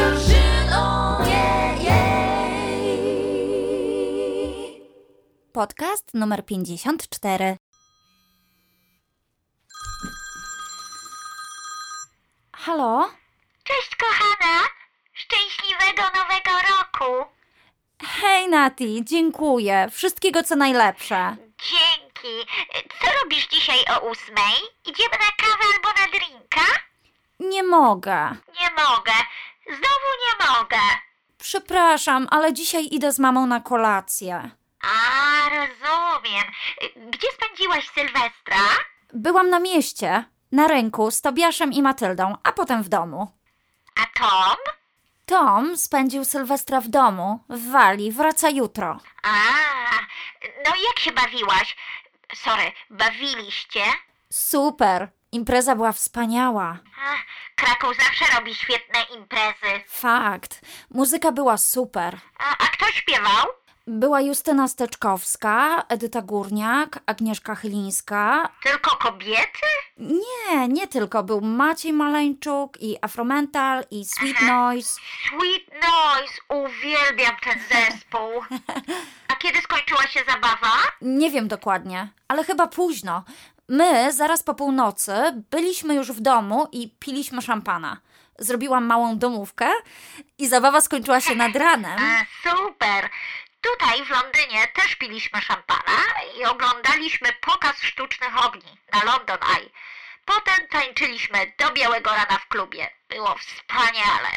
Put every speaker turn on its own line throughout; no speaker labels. Marzyną jej.
Podcast numer 54. Halo?
Cześć kochana! Szczęśliwego nowego roku!
Hej Nati, dziękuję. Wszystkiego co najlepsze.
Dzięki! Co robisz dzisiaj o ósmej? Idziemy na kawę albo na drinka?
Nie mogę.
Nie mogę! Znowu nie mogę!
Przepraszam, ale dzisiaj idę z mamą na kolację.
A, rozumiem. Gdzie spędziłaś Sylwestra?
Byłam na mieście, na rynku z Tobiaszem i Matyldą, a potem w domu.
A Tom?
Tom spędził Sylwestra w domu, w Walii, wraca jutro.
A, no i jak się bawiłaś? Sorry, bawiliście?
Super, impreza była wspaniała.
Ach, Kraków zawsze robi świetne imprezy.
Fakt, muzyka była super.
A, a kto śpiewał?
Była Justyna Steczkowska, Edyta Górniak, Agnieszka Chylińska.
Tylko kobiety?
Nie, nie tylko. Był Maciej Maleńczuk i Afromental i Sweet Noise.
Sweet Noise, uwielbiam ten zespół. A kiedy skończyła się zabawa?
Nie wiem dokładnie, ale chyba późno. My zaraz po północy byliśmy już w domu i piliśmy szampana. Zrobiłam małą domówkę i zabawa skończyła się nad ranem.
A, E, super. Tutaj w Londynie też piliśmy szampana i oglądaliśmy pokaz sztucznych ogni na London Eye. Potem tańczyliśmy do białego rana w klubie. Było wspaniale.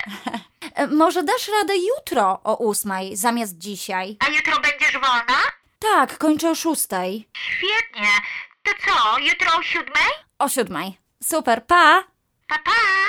E, Może dasz radę jutro o ósmej zamiast dzisiaj?
A jutro będziesz wolna?
Tak, kończę o szóstej.
Świetnie. To co, jutro o siódmej?
O siódmej. Super, pa!
Pa, pa!